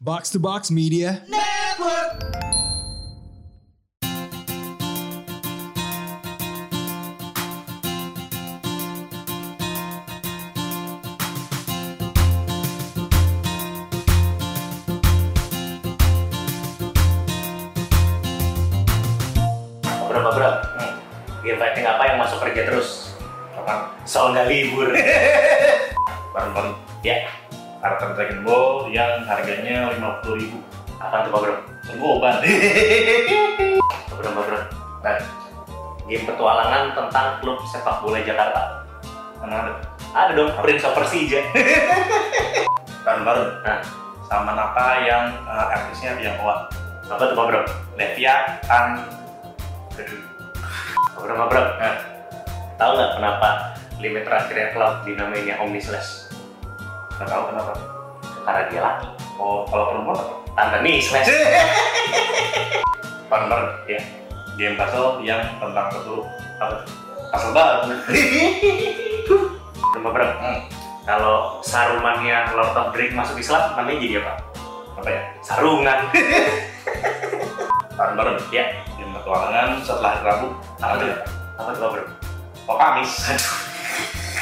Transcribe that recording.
Box to Box Media. Berapa bro? Nih, Hmm. game fighting apa yang masuk kerja terus? Apa? Soal nggak libur. Nonton ya, Tartan Dragon Ball yang harganya 50 ribu apa tuh Pak Bro? Segoban Pak Bro, Pak Bro. Nah, Game petualangan tentang klub sepak bola Jakarta. mana ada? Ada dong, Prince of Persija. Tahun baru Nah, Sama Nata yang eh, artisnya Tionghoa apa tuh Pak Bro? Levia Tan Aduh. Pak Bro, Pak Bro. Nah, Tahu nggak kenapa limit terakhirnya klub dinamainya Omni Slash? nggak tahu kenapa Karena dia laki. Oh, kalau perempuan apa? Tante nih Slash. Tahun baru ya, Game puzzle yang tentang satu Apa? Puzzle baru Pak Bro, Pak Bro. Hmm, Kalau sarumannya Lord of Drake masuk Islam, namanya jadi apa? Apa ya? Sarungan. Tahun baru ya, Game petualangan setelah hari Rabu apa tuh? Apa tuh Pak Bro? Oh, Kamis Aduh